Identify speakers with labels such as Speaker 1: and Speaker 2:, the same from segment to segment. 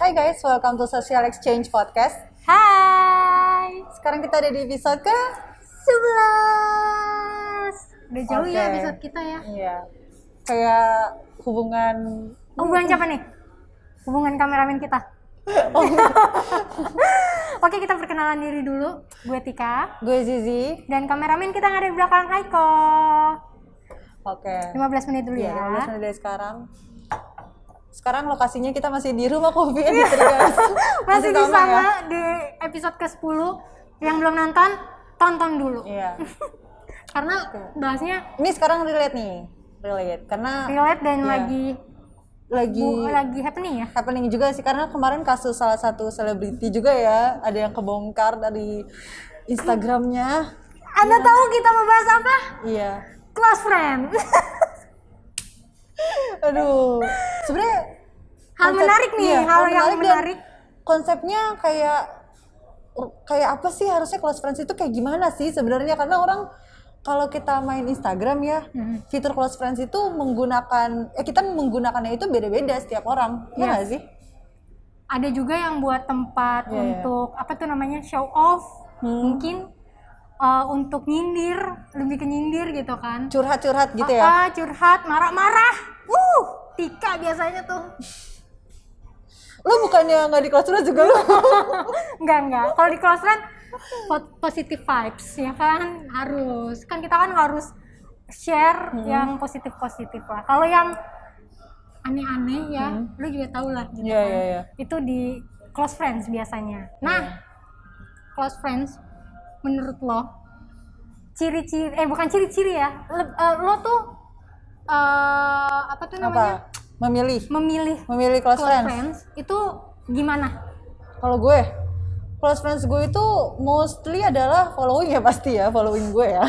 Speaker 1: Hai guys, welcome to Social Exchange Podcast.
Speaker 2: Hai.
Speaker 1: Sekarang kita ada di episode ke
Speaker 2: 11. Udah jauh ya
Speaker 1: Oke.
Speaker 2: episode kita ya.
Speaker 1: Iya. Kayak hubungan
Speaker 2: Oh, hubungan siapa nih? Hubungan kameramen kita. Oh. Oke, kita perkenalan diri dulu. Gue Tika
Speaker 1: gue Zizi.
Speaker 2: dan kameramen kita yang ada di belakang Aiko.
Speaker 1: Oke.
Speaker 2: 15 menit dulu
Speaker 1: Iya, 15
Speaker 2: ya.
Speaker 1: menit dari sekarang. Sekarang lokasinya kita masih di rumah kopi and Eatery, guys.
Speaker 2: Masih ya? di
Speaker 1: sama ya?
Speaker 2: sana di episode ke-10 yang belum nonton, tonton dulu.
Speaker 1: Iya.
Speaker 2: Karena bahasnya
Speaker 1: Ini sekarang relate nih. Relate karena
Speaker 2: relate dan
Speaker 1: Iya.
Speaker 2: lagi
Speaker 1: lagi
Speaker 2: bu- lagi happening ya.
Speaker 1: happening juga sih karena kemarin kasus salah satu selebriti juga ya, ada yang kebongkar dari Instagramnya.
Speaker 2: Anda tahu kita mau bahas apa?
Speaker 1: Iya.
Speaker 2: Close friend.
Speaker 1: Aduh, sebenarnya
Speaker 2: Hal menarik nih,
Speaker 1: iya,
Speaker 2: hal
Speaker 1: dan
Speaker 2: yang menarik.
Speaker 1: Konsepnya kayak kayak apa sih harusnya close friends itu kayak gimana sih sebenarnya karena orang kalau kita main Instagram ya, fitur close friends itu menggunakan eh kita menggunakannya itu beda-beda setiap orang. Iya nggak sih?
Speaker 2: ada juga yang buat
Speaker 1: Iya,
Speaker 2: tempat
Speaker 1: iya.
Speaker 2: untuk apa tuh namanya show off
Speaker 1: Hmm.
Speaker 2: mungkin uh, untuk nyindir lebih ke nyindir gitu kan
Speaker 1: Curhat-curhat gitu ya.
Speaker 2: Ah, curhat marah-marah uh tika biasanya tuh
Speaker 1: Lu bukannya nggak di close friends juga lu?
Speaker 2: enggak enggak kalau di close friend po- positive vibes ya kan harus kan kita kan harus share
Speaker 1: Hmm.
Speaker 2: yang positif positif lah kalau yang aneh-aneh ya
Speaker 1: Hmm.
Speaker 2: lu juga tau lah gitu
Speaker 1: Iya,
Speaker 2: kan.
Speaker 1: iya, iya.
Speaker 2: itu di close friends biasanya nah close friends menurut lo ciri-ciri eh bukan ciri-ciri ya Leb- eh, lo tuh eh apa tuh namanya
Speaker 1: Apa? Memilih,
Speaker 2: memilih
Speaker 1: memilih close,
Speaker 2: close
Speaker 1: friends.
Speaker 2: friends itu gimana
Speaker 1: Kalau gue, close friends gue itu mostly adalah following ya pasti ya, following gue ya.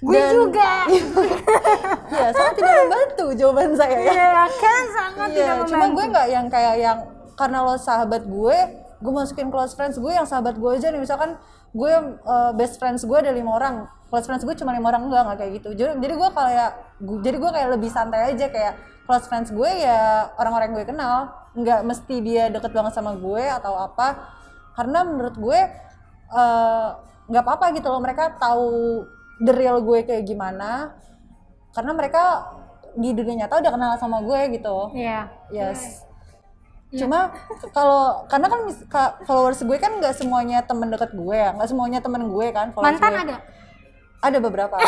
Speaker 2: Gue
Speaker 1: Dan-
Speaker 2: juga.
Speaker 1: Iya, sangat tidak membantu jawaban saya ya.
Speaker 2: Iya, kan sangat tidak
Speaker 1: Iya, cuma
Speaker 2: membantu.
Speaker 1: gue nggak yang kayak yang karena lo sahabat gue, gue masukin close friends gue yang sahabat gue aja nih misalkan gue eh, best friends gue ada lima orang, close friends gue cuma lima orang enggak nggak kayak gitu. Jadi jadi gue kayak gu- jadi gue kayak lebih santai aja kayak close friends gue ya orang-orang yang gue kenal, nggak mesti dia deket banget sama gue atau apa. Karena menurut gue eh, nggak apa-apa gitu loh mereka tahu the real gue kayak gimana. Karena mereka di dunia nyata udah kenal sama gue gitu.
Speaker 2: Iya.
Speaker 1: Yes. Cuma kalau karena kan mis- ka- followers gue kan nggak semuanya temen deket gue ya, nggak semuanya temen gue kan. followers
Speaker 2: Mantan
Speaker 1: gue.
Speaker 2: ada.
Speaker 1: Ada beberapa.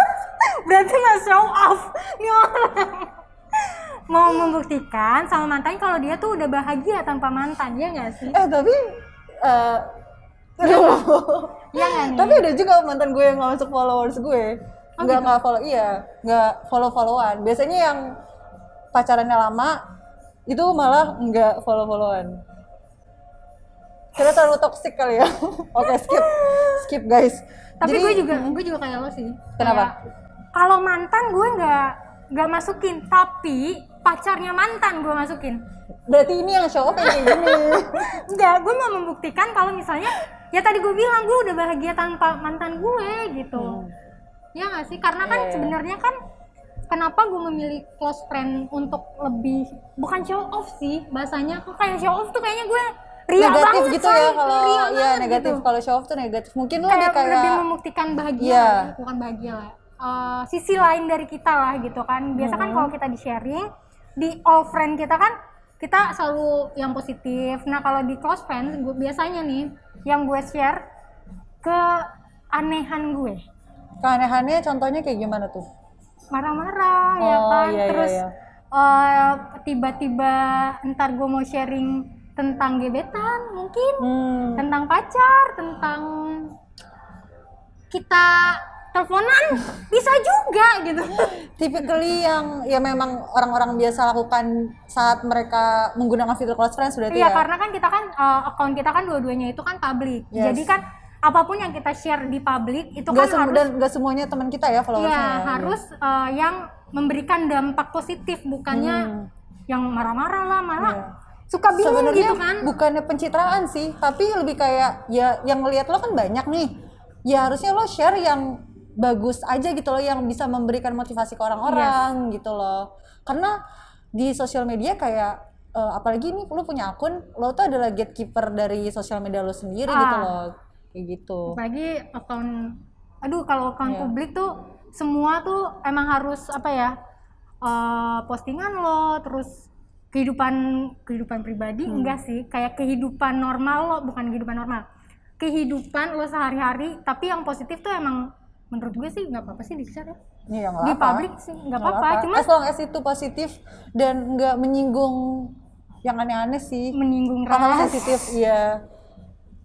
Speaker 2: Berarti nggak show off nih orang. Mau membuktikan sama mantan kalau dia tuh udah bahagia tanpa mantan, ya nggak sih?
Speaker 1: eh tapi, eh,
Speaker 2: Iya nggak nih?
Speaker 1: tapi ada juga mantan gue yang nggak masuk followers gue,
Speaker 2: Oh, gitu?
Speaker 1: nggak nggak follow iya, nggak follow followan. Biasanya yang pacarannya lama itu malah nggak follow followan. Karena terlalu toxic kali ya. Oke skip, skip guys.
Speaker 2: Tapi
Speaker 1: Jadi-
Speaker 2: gue juga, gue juga kayak lo sih.
Speaker 1: Kenapa?
Speaker 2: Kayak, Kalau mantan gue nggak nggak masukin, tapi pacarnya mantan gue masukin.
Speaker 1: berarti ini yang show off yang kayak gini.
Speaker 2: Enggak, gue mau membuktikan kalau misalnya ya tadi gue bilang gue udah bahagia tanpa mantan gue gitu. Ya nggak sih? Karena kan
Speaker 1: Hmm. Iya, iya.
Speaker 2: sebenarnya kan kenapa gue memilih close friend untuk lebih bukan show off sih bahasanya kok kayak show off tuh kayaknya gue ria
Speaker 1: negatif
Speaker 2: banget
Speaker 1: gitu ya
Speaker 2: coy.
Speaker 1: kalau
Speaker 2: Ria
Speaker 1: ya
Speaker 2: banget
Speaker 1: negatif
Speaker 2: gitu.
Speaker 1: kalau show off tuh negatif mungkin lo
Speaker 2: kayak,
Speaker 1: lebih kayak
Speaker 2: lebih membuktikan bahagia
Speaker 1: Iya.
Speaker 2: lah, bukan bahagia lah Eh, sisi lain dari kita lah gitu kan biasa kan kalau kita di sharing di all friend kita kan kita selalu yang positif nah kalau di close friend gue, biasanya nih yang gue share ke anehan gue
Speaker 1: keanehannya contohnya kayak gimana tuh
Speaker 2: marah-marah ya
Speaker 1: Oh,
Speaker 2: kan
Speaker 1: iya, iya,
Speaker 2: terus
Speaker 1: iya.
Speaker 2: eh, tiba-tiba entar gue mau sharing tentang gebetan mungkin
Speaker 1: hmm.
Speaker 2: tentang pacar, tentang kita teleponan bisa juga gitu.
Speaker 1: Typically yang ya memang orang-orang biasa lakukan saat mereka menggunakan fitur close friends berarti
Speaker 2: Iya,
Speaker 1: ya
Speaker 2: karena kan kita kan uh, account kita kan dua-duanya itu kan public.
Speaker 1: Yes.
Speaker 2: Jadi kan apapun yang kita share di public itu
Speaker 1: Nggak
Speaker 2: kan
Speaker 1: semu-
Speaker 2: harus
Speaker 1: dan nggak semuanya teman kita ya followersnya
Speaker 2: ya,
Speaker 1: ya.
Speaker 2: harus uh, yang memberikan dampak positif bukannya yang marah-marah lah, malah
Speaker 1: Hmm. Iya.
Speaker 2: suka bingung
Speaker 1: sebenarnya
Speaker 2: gitu kan.
Speaker 1: bukannya pencitraan sih tapi lebih kayak ya yang ngelihat lo kan banyak nih ya harusnya lo share yang bagus aja gitu loh yang bisa memberikan motivasi ke orang-orang gitu loh karena di sosial media kayak eh, apalagi nih lu punya akun lo tuh adalah gatekeeper dari sosial media lo sendiri
Speaker 2: Ah.
Speaker 1: gitu loh kayak gitu
Speaker 2: apalagi account aduh kalau account
Speaker 1: Iya.
Speaker 2: publik tuh semua tuh emang harus apa ya eh, postingan lo terus kehidupan kehidupan pribadi enggak sih kayak kehidupan normal lo bukan kehidupan normal kehidupan lo sehari-hari tapi yang positif tuh emang menurut gue sih nggak apa-apa sih di share ya
Speaker 1: Iya, nggak
Speaker 2: di
Speaker 1: apa-apa.
Speaker 2: publik sih nggak
Speaker 1: Nggak
Speaker 2: apa-apa cuma
Speaker 1: as long as itu positif dan nggak menyinggung yang aneh-aneh sih
Speaker 2: menyinggung
Speaker 1: hal
Speaker 2: ras
Speaker 1: sensitif iya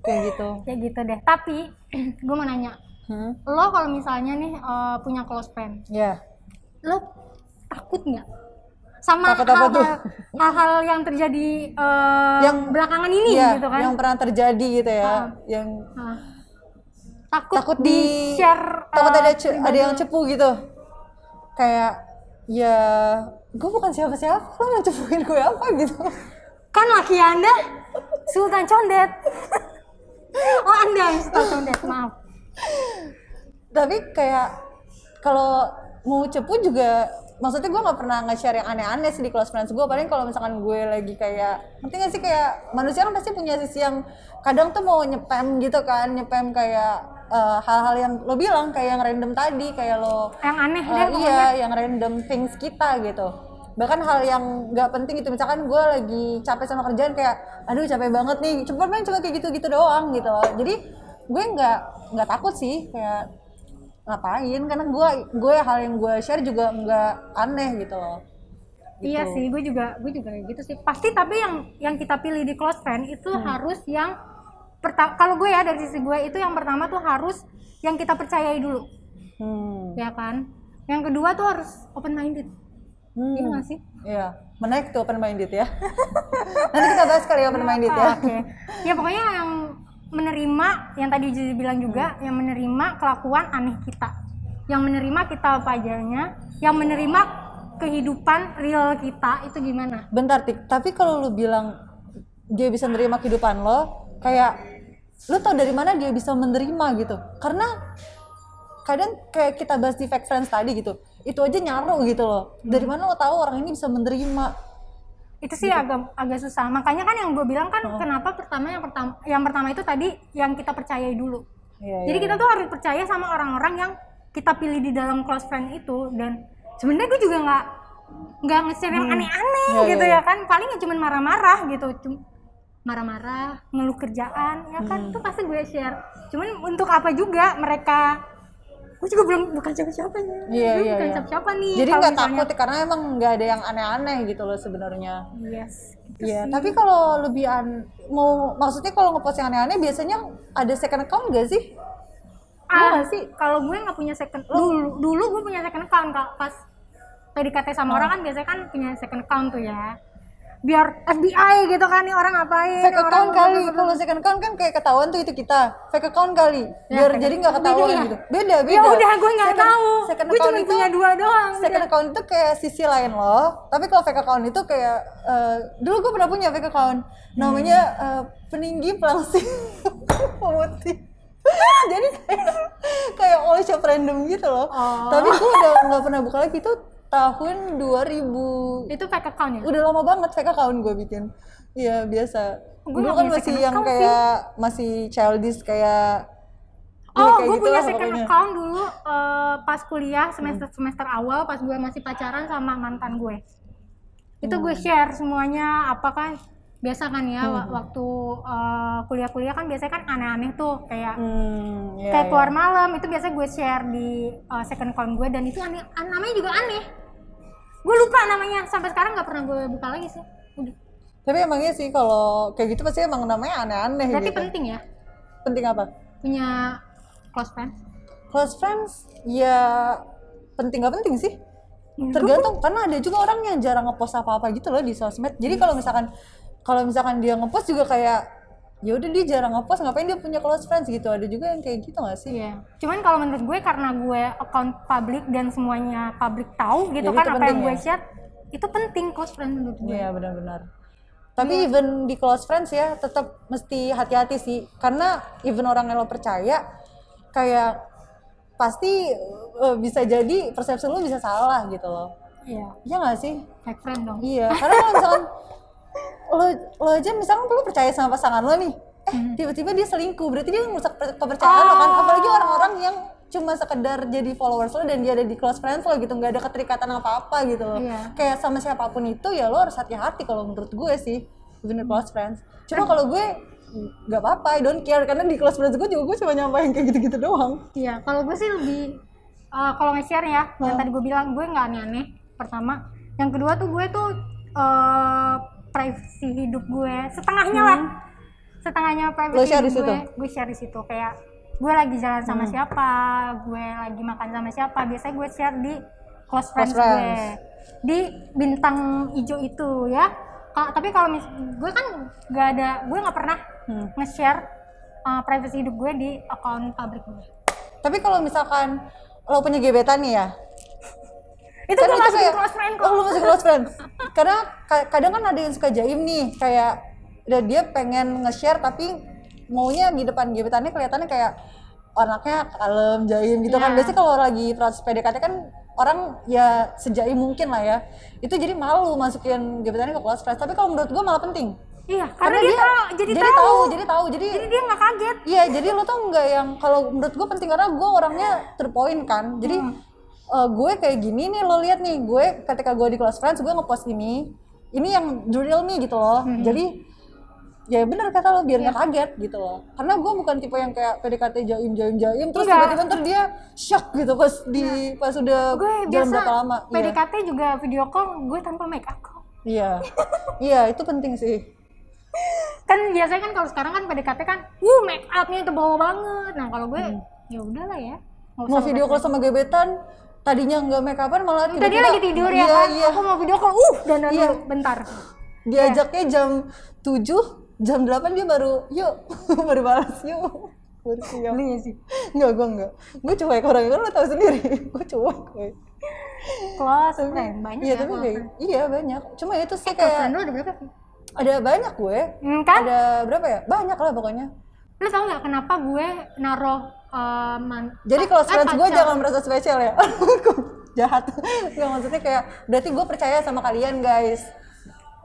Speaker 1: kayak gitu
Speaker 2: ya gitu deh tapi gue mau nanya
Speaker 1: hmm?
Speaker 2: lo kalau misalnya nih eh, punya close friend
Speaker 1: ya
Speaker 2: lo takut nggak sama
Speaker 1: Takut apa
Speaker 2: hal-hal
Speaker 1: tuh?
Speaker 2: hal-hal yang terjadi eh,
Speaker 1: Yang-
Speaker 2: belakangan ini
Speaker 1: Iya,
Speaker 2: gitu kan
Speaker 1: yang pernah terjadi gitu ya
Speaker 2: Ah.
Speaker 1: yang
Speaker 2: Ah. takut,
Speaker 1: takut
Speaker 2: di
Speaker 1: di
Speaker 2: share
Speaker 1: takut
Speaker 2: eh,
Speaker 1: ada ce- ada
Speaker 2: pribadi
Speaker 1: yang
Speaker 2: lo.
Speaker 1: cepu gitu kayak ya gue bukan siapa-siapa lo mau cepuin gue apa gitu
Speaker 2: kan laki anda Sultan Condet oh anda yang Sultan Condet maaf
Speaker 1: tapi kayak kalau mau cepu juga maksudnya gue nggak pernah nge-share yang aneh-aneh sih di close friends gue paling kalau misalkan gue lagi kayak ngerti gak sih kayak manusia kan pasti punya sisi yang kadang tuh mau nyepam gitu kan nyepam kayak eh, hal-hal yang lo bilang kayak yang random tadi kayak lo
Speaker 2: yang aneh
Speaker 1: Eh,
Speaker 2: deh pokoknya.
Speaker 1: iya yang random things kita gitu bahkan hal yang nggak penting itu misalkan gue lagi capek sama kerjaan kayak aduh capek banget nih cuma main cuma kayak gitu gitu doang gitu loh jadi gue nggak nggak takut sih kayak ngapain karena gue gue hal yang gue share juga nggak aneh gitu loh
Speaker 2: Iya sih, gue juga gue juga kayak gitu sih. Pasti tapi yang yang kita pilih di close friend itu
Speaker 1: Hmm.
Speaker 2: harus yang pertama kalau gue ya dari sisi gue itu yang pertama tuh harus yang kita percayai dulu,
Speaker 1: hmm,
Speaker 2: ya kan? Yang kedua tuh harus open minded.
Speaker 1: Hmm.
Speaker 2: Iya gak sih?
Speaker 1: iya menarik tuh open minded ya nanti kita bahas kali open minded ya
Speaker 2: Ah, Oke. Ya pokoknya yang menerima yang tadi Jiji bilang juga yang menerima kelakuan aneh kita. Yang menerima kita apa adanya, yang menerima kehidupan real kita itu gimana?
Speaker 1: Bentar Tik, tapi kalau lu bilang dia bisa menerima kehidupan lo, kayak lu tau dari mana dia bisa menerima gitu. Karena kadang kayak kita bahas di fake friends tadi gitu, itu aja nyaru gitu loh. Dari mana lo tahu orang ini bisa menerima?
Speaker 2: itu sih agak agak susah makanya kan yang gue bilang kan kenapa pertama yang pertama yang pertama itu tadi yang kita percayai dulu
Speaker 1: Iya,
Speaker 2: jadi kita tuh harus percaya sama orang-orang yang kita pilih di dalam close friend itu dan sebenarnya gue juga nggak nggak nge-share yang aneh-aneh
Speaker 1: Iya,
Speaker 2: gitu
Speaker 1: iya,
Speaker 2: ya kan paling ya cuman marah-marah gitu Cum- marah-marah ngeluh kerjaan ya
Speaker 1: Hmm.
Speaker 2: kan itu pasti gue share cuman untuk apa juga mereka gue juga belum bukan siapa-siapa ya
Speaker 1: Iya,
Speaker 2: Gue
Speaker 1: iya,
Speaker 2: bukan
Speaker 1: iya.
Speaker 2: siapa-siapa nih
Speaker 1: Jadi
Speaker 2: kalau
Speaker 1: nggak
Speaker 2: misalnya-
Speaker 1: takut karena emang nggak ada yang aneh-aneh gitu loh sebenarnya.
Speaker 2: yes gitu
Speaker 1: Iya,
Speaker 2: sih.
Speaker 1: tapi kalau lebih an mau maksudnya kalau ngepost yang aneh-aneh biasanya ada second account nggak sih?
Speaker 2: Ah, sih kalau gue nggak punya second dulu dulu gue punya second account kak pas PDKT
Speaker 1: Oh.
Speaker 2: sama orang kan biasanya kan punya second account tuh ya biar FBI gitu kan nih orang ngapain
Speaker 1: fake
Speaker 2: orang
Speaker 1: account kali kalau second account kan kayak ketahuan tuh itu kita fake account kali biar
Speaker 2: fake
Speaker 1: jadi nggak
Speaker 2: account.
Speaker 1: ketahuan
Speaker 2: Beda ya?
Speaker 1: gitu beda beda
Speaker 2: ya udah gue nggak
Speaker 1: Second-
Speaker 2: tahu
Speaker 1: second
Speaker 2: gue
Speaker 1: account
Speaker 2: cuma
Speaker 1: itu
Speaker 2: punya dua doang
Speaker 1: second account itu kayak sisi lain loh tapi kalau fake account itu kayak eh, dulu gue pernah punya fake account namanya
Speaker 2: Hmm.
Speaker 1: eh, peninggi pelangsing pemutih jadi kayak kayak all shop random gitu loh
Speaker 2: Oh.
Speaker 1: tapi gue udah nggak pernah buka lagi itu tahun 2000
Speaker 2: itu fake account ya
Speaker 1: udah lama banget fake account gue bikin iya biasa dulu
Speaker 2: Gua nggak
Speaker 1: kan
Speaker 2: punya
Speaker 1: masih
Speaker 2: second
Speaker 1: yang
Speaker 2: account
Speaker 1: kayak masih childish kayak ya,
Speaker 2: oh
Speaker 1: kayak
Speaker 2: gue punya
Speaker 1: gitulah
Speaker 2: second
Speaker 1: pokoknya. Hmm.
Speaker 2: account dulu eh, pas kuliah semester semester awal pas gue masih pacaran sama mantan gue itu
Speaker 1: Hmm.
Speaker 2: gue share semuanya apa kan biasa kan ya wa-
Speaker 1: Hmm.
Speaker 2: waktu eh, kuliah-kuliah kan biasanya kan aneh-aneh tuh kayak
Speaker 1: hmm, iya,
Speaker 2: kayak
Speaker 1: iya.
Speaker 2: keluar malam itu biasa gue share di uh, second account gue dan itu aneh an- namanya juga aneh gue lupa namanya sampai sekarang nggak pernah gue buka lagi sih udah
Speaker 1: tapi emangnya sih kalau kayak gitu pasti emang namanya aneh-aneh
Speaker 2: berarti
Speaker 1: gitu
Speaker 2: penting ya
Speaker 1: penting apa
Speaker 2: punya close friends
Speaker 1: close friends ya penting gak penting sih
Speaker 2: Menurut
Speaker 1: tergantung karena ada juga orang yang jarang ngepost apa-apa gitu loh di sosmed jadi kalau misalkan kalau misalkan dia ngepost juga kayak ya udah dia jarang ngepost ngapain dia punya close friends gitu ada juga yang kayak gitu gak sih
Speaker 2: Iya. Cuman kalau menurut gue karena gue account public dan semuanya public tahu gitu
Speaker 1: Jadi
Speaker 2: kan
Speaker 1: itu
Speaker 2: apa yang
Speaker 1: penting ya.
Speaker 2: gue share itu penting close friends menurut gue.
Speaker 1: Iya benar-benar. Tapi even di close friends ya tetap mesti hati-hati sih karena even orang yang lo percaya kayak pasti eh, bisa jadi persepsi lo bisa salah gitu loh.
Speaker 2: Iya.
Speaker 1: Iya nggak sih?
Speaker 2: Fake friend dong.
Speaker 1: Iya, karena kalau misalkan lo lo aja misalkan lo percaya sama pasangan lo nih eh tiba-tiba dia selingkuh berarti dia merusak per- kepercayaan lo kan apalagi orang-orang yang cuma sekedar jadi followers lo dan dia ada di close friends lo gitu nggak ada keterikatan apa-apa gitu loh
Speaker 2: Iya.
Speaker 1: kayak sama siapapun itu ya lo harus hati-hati kalau menurut gue sih bener close friends cuma kalau gue nggak apa-apa I don't care karena di close friends gue juga gue cuma nyampain kayak gitu-gitu doang
Speaker 2: Iya, kalau gue sih lebih eh, kalau nge-share ya, yang tadi gue bilang gue nggak aneh-aneh. Pertama, yang kedua tuh gue tuh eh privacy hidup gue setengahnya lah, setengahnya privacy
Speaker 1: Lo Hmm. share di
Speaker 2: hidup
Speaker 1: situ? Hmm.
Speaker 2: gue. Gue share di situ kayak gue lagi jalan sama siapa, gue lagi makan sama siapa. Biasanya gue share di close friends,
Speaker 1: friends.
Speaker 2: gue di bintang hijau itu ya. Ka- tapi kalau mis- gue kan nggak ada, gue nggak pernah
Speaker 1: Hmm.
Speaker 2: nge-share eh, privacy hidup gue di account pabrik gue.
Speaker 1: tapi kalau misalkan lo punya gebetan nih ya
Speaker 2: itu
Speaker 1: Kan
Speaker 2: gue
Speaker 1: itu
Speaker 2: masukin
Speaker 1: kayak,
Speaker 2: close friend kok
Speaker 1: Oh, lu masih close friend. Karena ka- kadang kan ada yang suka jaim nih, kayak udah dia pengen nge-share tapi maunya di depan gebetannya kelihatannya kayak anaknya kalem, jaim gitu kan.
Speaker 2: Iya.
Speaker 1: Biasanya kalau lagi proses PDKT kan orang ya sejaim mungkin lah ya. Itu jadi malu masukin gebetannya ke close friends. Tapi kalau menurut gua malah penting.
Speaker 2: iya karena, dia, tahu jadi, tahu,
Speaker 1: jadi tahu, jadi
Speaker 2: jadi dia nggak kaget
Speaker 1: Iya, jadi lo tuh nggak yang kalau menurut gue penting karena gue orangnya terpoin kan. Jadi
Speaker 2: Hmm.
Speaker 1: eh, gue kayak gini nih lo lihat nih gue ketika gue di close friends gue ngepost ini, ini yang the real me gitu loh.
Speaker 2: Hmm.
Speaker 1: Jadi ya bener kata lo biar nggak
Speaker 2: Iya.
Speaker 1: kaget gitu loh. Karena gue bukan tipe yang kayak PDKT jaim jaim jaim terus
Speaker 2: Enggak.
Speaker 1: tiba-tiba ntar dia shock gitu pas di pas udah
Speaker 2: gue
Speaker 1: Oh, jalan
Speaker 2: biasa
Speaker 1: berapa lama. Iya.
Speaker 2: PDKT juga video call gue tanpa make up kok.
Speaker 1: Iya, iya itu penting sih.
Speaker 2: kan biasanya kan kalau sekarang kan PDKT kan wuh make upnya itu bawa banget nah kalau gue
Speaker 1: Hmm.
Speaker 2: ya udahlah ya nggak usah
Speaker 1: Mau video call sama gebetan tadinya nggak make upan malah
Speaker 2: tadi dia
Speaker 1: tiba-tiba-
Speaker 2: lagi tidur ya
Speaker 1: Iya,
Speaker 2: kan
Speaker 1: iya.
Speaker 2: aku mau video call uh dan
Speaker 1: Iya.
Speaker 2: dulu bentar Iya.
Speaker 1: diajaknya jam 7 jam 8 dia baru yuk baru balas yuk baru siap
Speaker 2: Lu ya sih
Speaker 1: enggak gue enggak gue cuek orangnya kan lo tau sendiri gue cuek gue.
Speaker 2: close friend banyak
Speaker 1: iya
Speaker 2: ya
Speaker 1: tapi
Speaker 2: close
Speaker 1: kayak,
Speaker 2: friend.
Speaker 1: iya banyak cuma itu sih
Speaker 2: close friend
Speaker 1: kayak
Speaker 2: lu ada berapa sih
Speaker 1: ada banyak gue
Speaker 2: Hmm, kan
Speaker 1: ada berapa ya banyak lah pokoknya
Speaker 2: lu tau nggak kenapa gue naruh eh, man-
Speaker 1: jadi close
Speaker 2: eh,
Speaker 1: friends gue
Speaker 2: pacar.
Speaker 1: jangan merasa spesial ya Kok jahat nggak maksudnya kayak berarti gue percaya sama kalian guys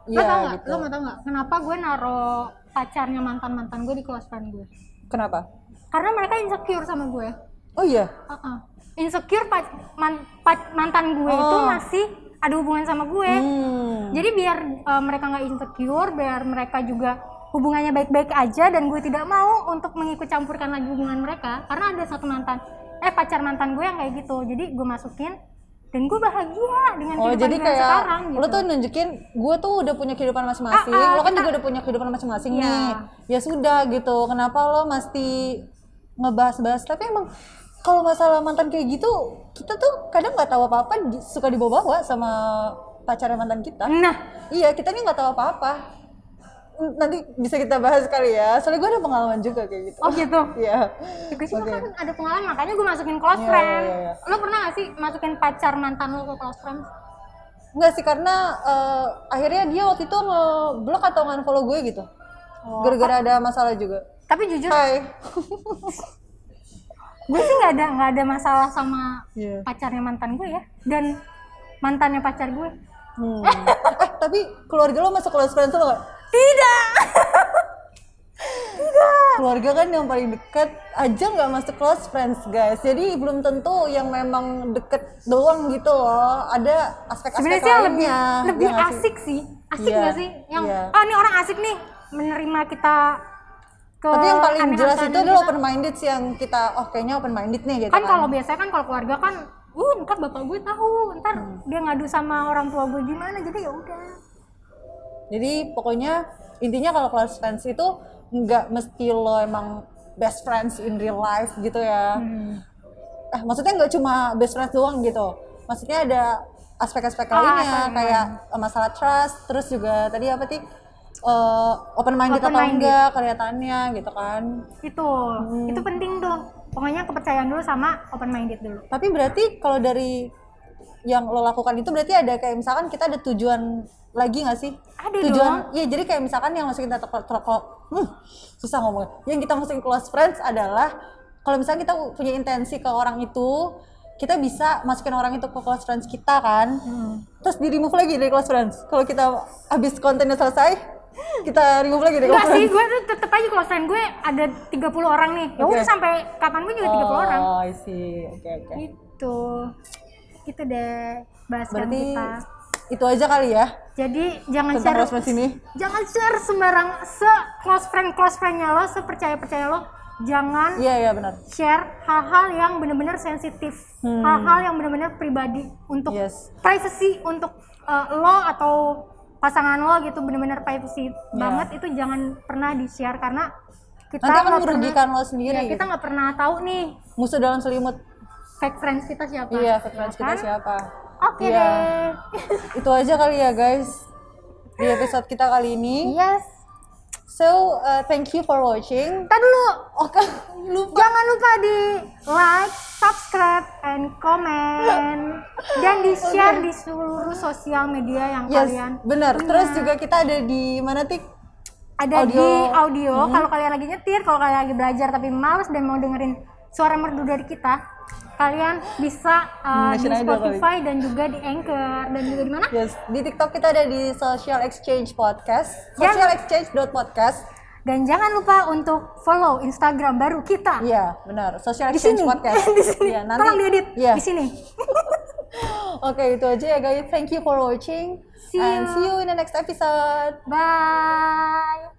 Speaker 2: lo tau
Speaker 1: Iya
Speaker 2: nggak?
Speaker 1: gitu
Speaker 2: Lo mau tau nggak? Kenapa gue naro pacarnya mantan mantan gue di close friend gue?
Speaker 1: kenapa
Speaker 2: Karena mereka insecure sama gue.
Speaker 1: oh iya
Speaker 2: Uh-uh. Insecure pac- man- pac- mantan gue itu
Speaker 1: Oh.
Speaker 2: masih ada hubungan sama gue.
Speaker 1: hmm.
Speaker 2: Jadi biar uh, mereka nggak insecure, biar mereka juga hubungannya baik-baik aja dan gue tidak mau untuk mengikut campurkan lagi hubungan mereka karena ada satu mantan eh pacar mantan gue yang kayak gitu jadi gue masukin dan gue bahagia dengan
Speaker 1: Oh
Speaker 2: kehidupan
Speaker 1: jadi
Speaker 2: gue yang
Speaker 1: kayak
Speaker 2: Kan sekarang gitu.
Speaker 1: lo tuh nunjukin gue tuh udah punya kehidupan masing-masing,
Speaker 2: Ah, ah,
Speaker 1: lo kan
Speaker 2: kita-
Speaker 1: juga udah punya kehidupan masing-masing
Speaker 2: Iya.
Speaker 1: nih. Ya sudah gitu, kenapa lo mesti ngebahas-bahas? Tapi emang kalau masalah mantan kayak gitu, kita tuh kadang nggak tahu apa-apa, di- suka dibawa-bawa sama pacarnya mantan kita.
Speaker 2: nah
Speaker 1: Iya, kita nih nggak tahu apa-apa. N- Nanti bisa kita bahas kali ya. Soalnya gue ada pengalaman juga kayak gitu.
Speaker 2: oh gitu
Speaker 1: Iya.
Speaker 2: gue sih
Speaker 1: Oke.
Speaker 2: kan ada pengalaman makanya gue masukin close
Speaker 1: Iya,
Speaker 2: friend
Speaker 1: iya, iya,
Speaker 2: lo pernah gak sih masukin pacar mantan lo ke close friend
Speaker 1: Enggak sih karena eh, akhirnya dia waktu itu ngeblok atau nge-follow gue gitu.
Speaker 2: Oh.
Speaker 1: Gara-gara ada masalah juga.
Speaker 2: tapi jujur
Speaker 1: Hai.
Speaker 2: gue sih nggak ada nggak ada masalah sama
Speaker 1: Iya.
Speaker 2: pacarnya mantan gue ya dan mantannya pacar gue
Speaker 1: Hmm. eh, tapi keluarga lo masuk close friends lo gak?
Speaker 2: tidak
Speaker 1: Keluarga kan yang paling dekat aja nggak masuk close friends guys. Jadi belum tentu yang memang deket doang gitu loh. Ada aspek-aspek
Speaker 2: sebenarnya sih lebih
Speaker 1: lainnya.
Speaker 2: lebih
Speaker 1: Iya nggak sih?
Speaker 2: asik sih asik
Speaker 1: Iya,
Speaker 2: nggak sih yang
Speaker 1: iya.
Speaker 2: ah ini orang asik nih menerima kita ke
Speaker 1: Tapi yang paling jelas
Speaker 2: aneh-anehan
Speaker 1: itu adalah
Speaker 2: kita.
Speaker 1: open minded sih yang kita oh kayaknya open minded nih gitu
Speaker 2: kan
Speaker 1: kan.
Speaker 2: kalau biasanya kan kalau keluarga kan uh ntar bapak gue tahu ntar
Speaker 1: Hmm.
Speaker 2: dia ngadu sama orang tua gue gimana jadi ya udah
Speaker 1: Jadi pokoknya intinya kalau close friends itu nggak mesti lo emang best friends in real life gitu ya. Eh, maksudnya nggak cuma best friends doang gitu. Maksudnya ada aspek-aspek lainnya
Speaker 2: aspek
Speaker 1: kayak eh, masalah trust, terus juga tadi apa sih open minded atau
Speaker 2: Open-minded.
Speaker 1: enggak kelihatannya gitu kan.
Speaker 2: itu itu penting tuh pokoknya kepercayaan dulu sama open minded dulu
Speaker 1: Tapi berarti kalau dari yang lo lakukan itu berarti ada kayak misalkan kita ada tujuan lagi nggak sih?
Speaker 2: Ada
Speaker 1: tujuan, Iya jadi kayak misalkan yang masukin kita ke- ke- ke- hmm, susah ngomongnya. Yang kita masukin close friends adalah kalau misalkan kita punya intensi ke orang itu, kita bisa masukin orang itu ke close
Speaker 2: Hmm.
Speaker 1: friends kita kan. Terus di remove lagi dari close friends. Kalau kita habis kontennya selesai, kita remove lagi deh
Speaker 2: Enggak
Speaker 1: kalau
Speaker 2: sih, gue tuh tetep aja close friend gue ada 30 orang nih. Ya udah
Speaker 1: Oke.
Speaker 2: sampai kapan gue juga 30 orang.
Speaker 1: Oh, I see. Oke, oke.
Speaker 2: Gitu. Gitu deh bahasan
Speaker 1: Berarti
Speaker 2: kita.
Speaker 1: itu aja kali ya
Speaker 2: Jadi jangan
Speaker 1: tentang
Speaker 2: share
Speaker 1: Rosmas ini.
Speaker 2: jangan share sembarang se close friend close friendnya lo, sepercaya percaya lo. Jangan
Speaker 1: Iya, iya benar.
Speaker 2: share hal-hal yang benar-benar sensitif,
Speaker 1: Hmm.
Speaker 2: hal-hal yang benar-benar pribadi untuk
Speaker 1: Yes.
Speaker 2: privacy untuk uh, lo atau pasangan lo gitu benar-benar privacy banget itu jangan pernah di share karena kita
Speaker 1: Iya. Nanti akan
Speaker 2: nggak pernah-
Speaker 1: merugikan lo
Speaker 2: Iya,
Speaker 1: sendiri. gitu.
Speaker 2: kita nggak pernah tahu nih
Speaker 1: Musuh dalam selimut.
Speaker 2: fake friends kita siapa.
Speaker 1: Iya,
Speaker 2: ya
Speaker 1: fans
Speaker 2: kan?
Speaker 1: kita siapa?
Speaker 2: Oke
Speaker 1: Iya.
Speaker 2: deh.
Speaker 1: Itu aja kali ya, guys. Di episode kita kali ini.
Speaker 2: Yes.
Speaker 1: So, uh, thank you for watching.
Speaker 2: Ntar dulu.
Speaker 1: Oke, lupa.
Speaker 2: Jangan lupa di like, subscribe, and comment dan di share di seluruh sosial media yang
Speaker 1: Yes,
Speaker 2: kalian
Speaker 1: benar.
Speaker 2: punya.
Speaker 1: Terus juga kita ada di mana tik?
Speaker 2: ada
Speaker 1: Audio. Hmm.
Speaker 2: di audio kalau kalian lagi nyetir kalau kalian lagi belajar tapi males dan mau dengerin suara merdu dari kita kalian bisa uh, di
Speaker 1: Nation Idol
Speaker 2: Spotify dan juga di Anchor dan juga di mana
Speaker 1: Yes, di TikTok kita ada di Social Exchange Podcast.
Speaker 2: Jangan-
Speaker 1: Socialexchange.podcast.
Speaker 2: dan jangan lupa untuk follow Instagram baru kita
Speaker 1: Iya, benar. Social
Speaker 2: di
Speaker 1: Exchange
Speaker 2: sini
Speaker 1: Podcast.
Speaker 2: di sini
Speaker 1: Iya, nanti.
Speaker 2: tolong diedit
Speaker 1: Iya.
Speaker 2: di sini
Speaker 1: Oke, itu aja ya guys. Thank you for watching.
Speaker 2: See ya.
Speaker 1: And
Speaker 2: you.
Speaker 1: see you in the next episode.
Speaker 2: bye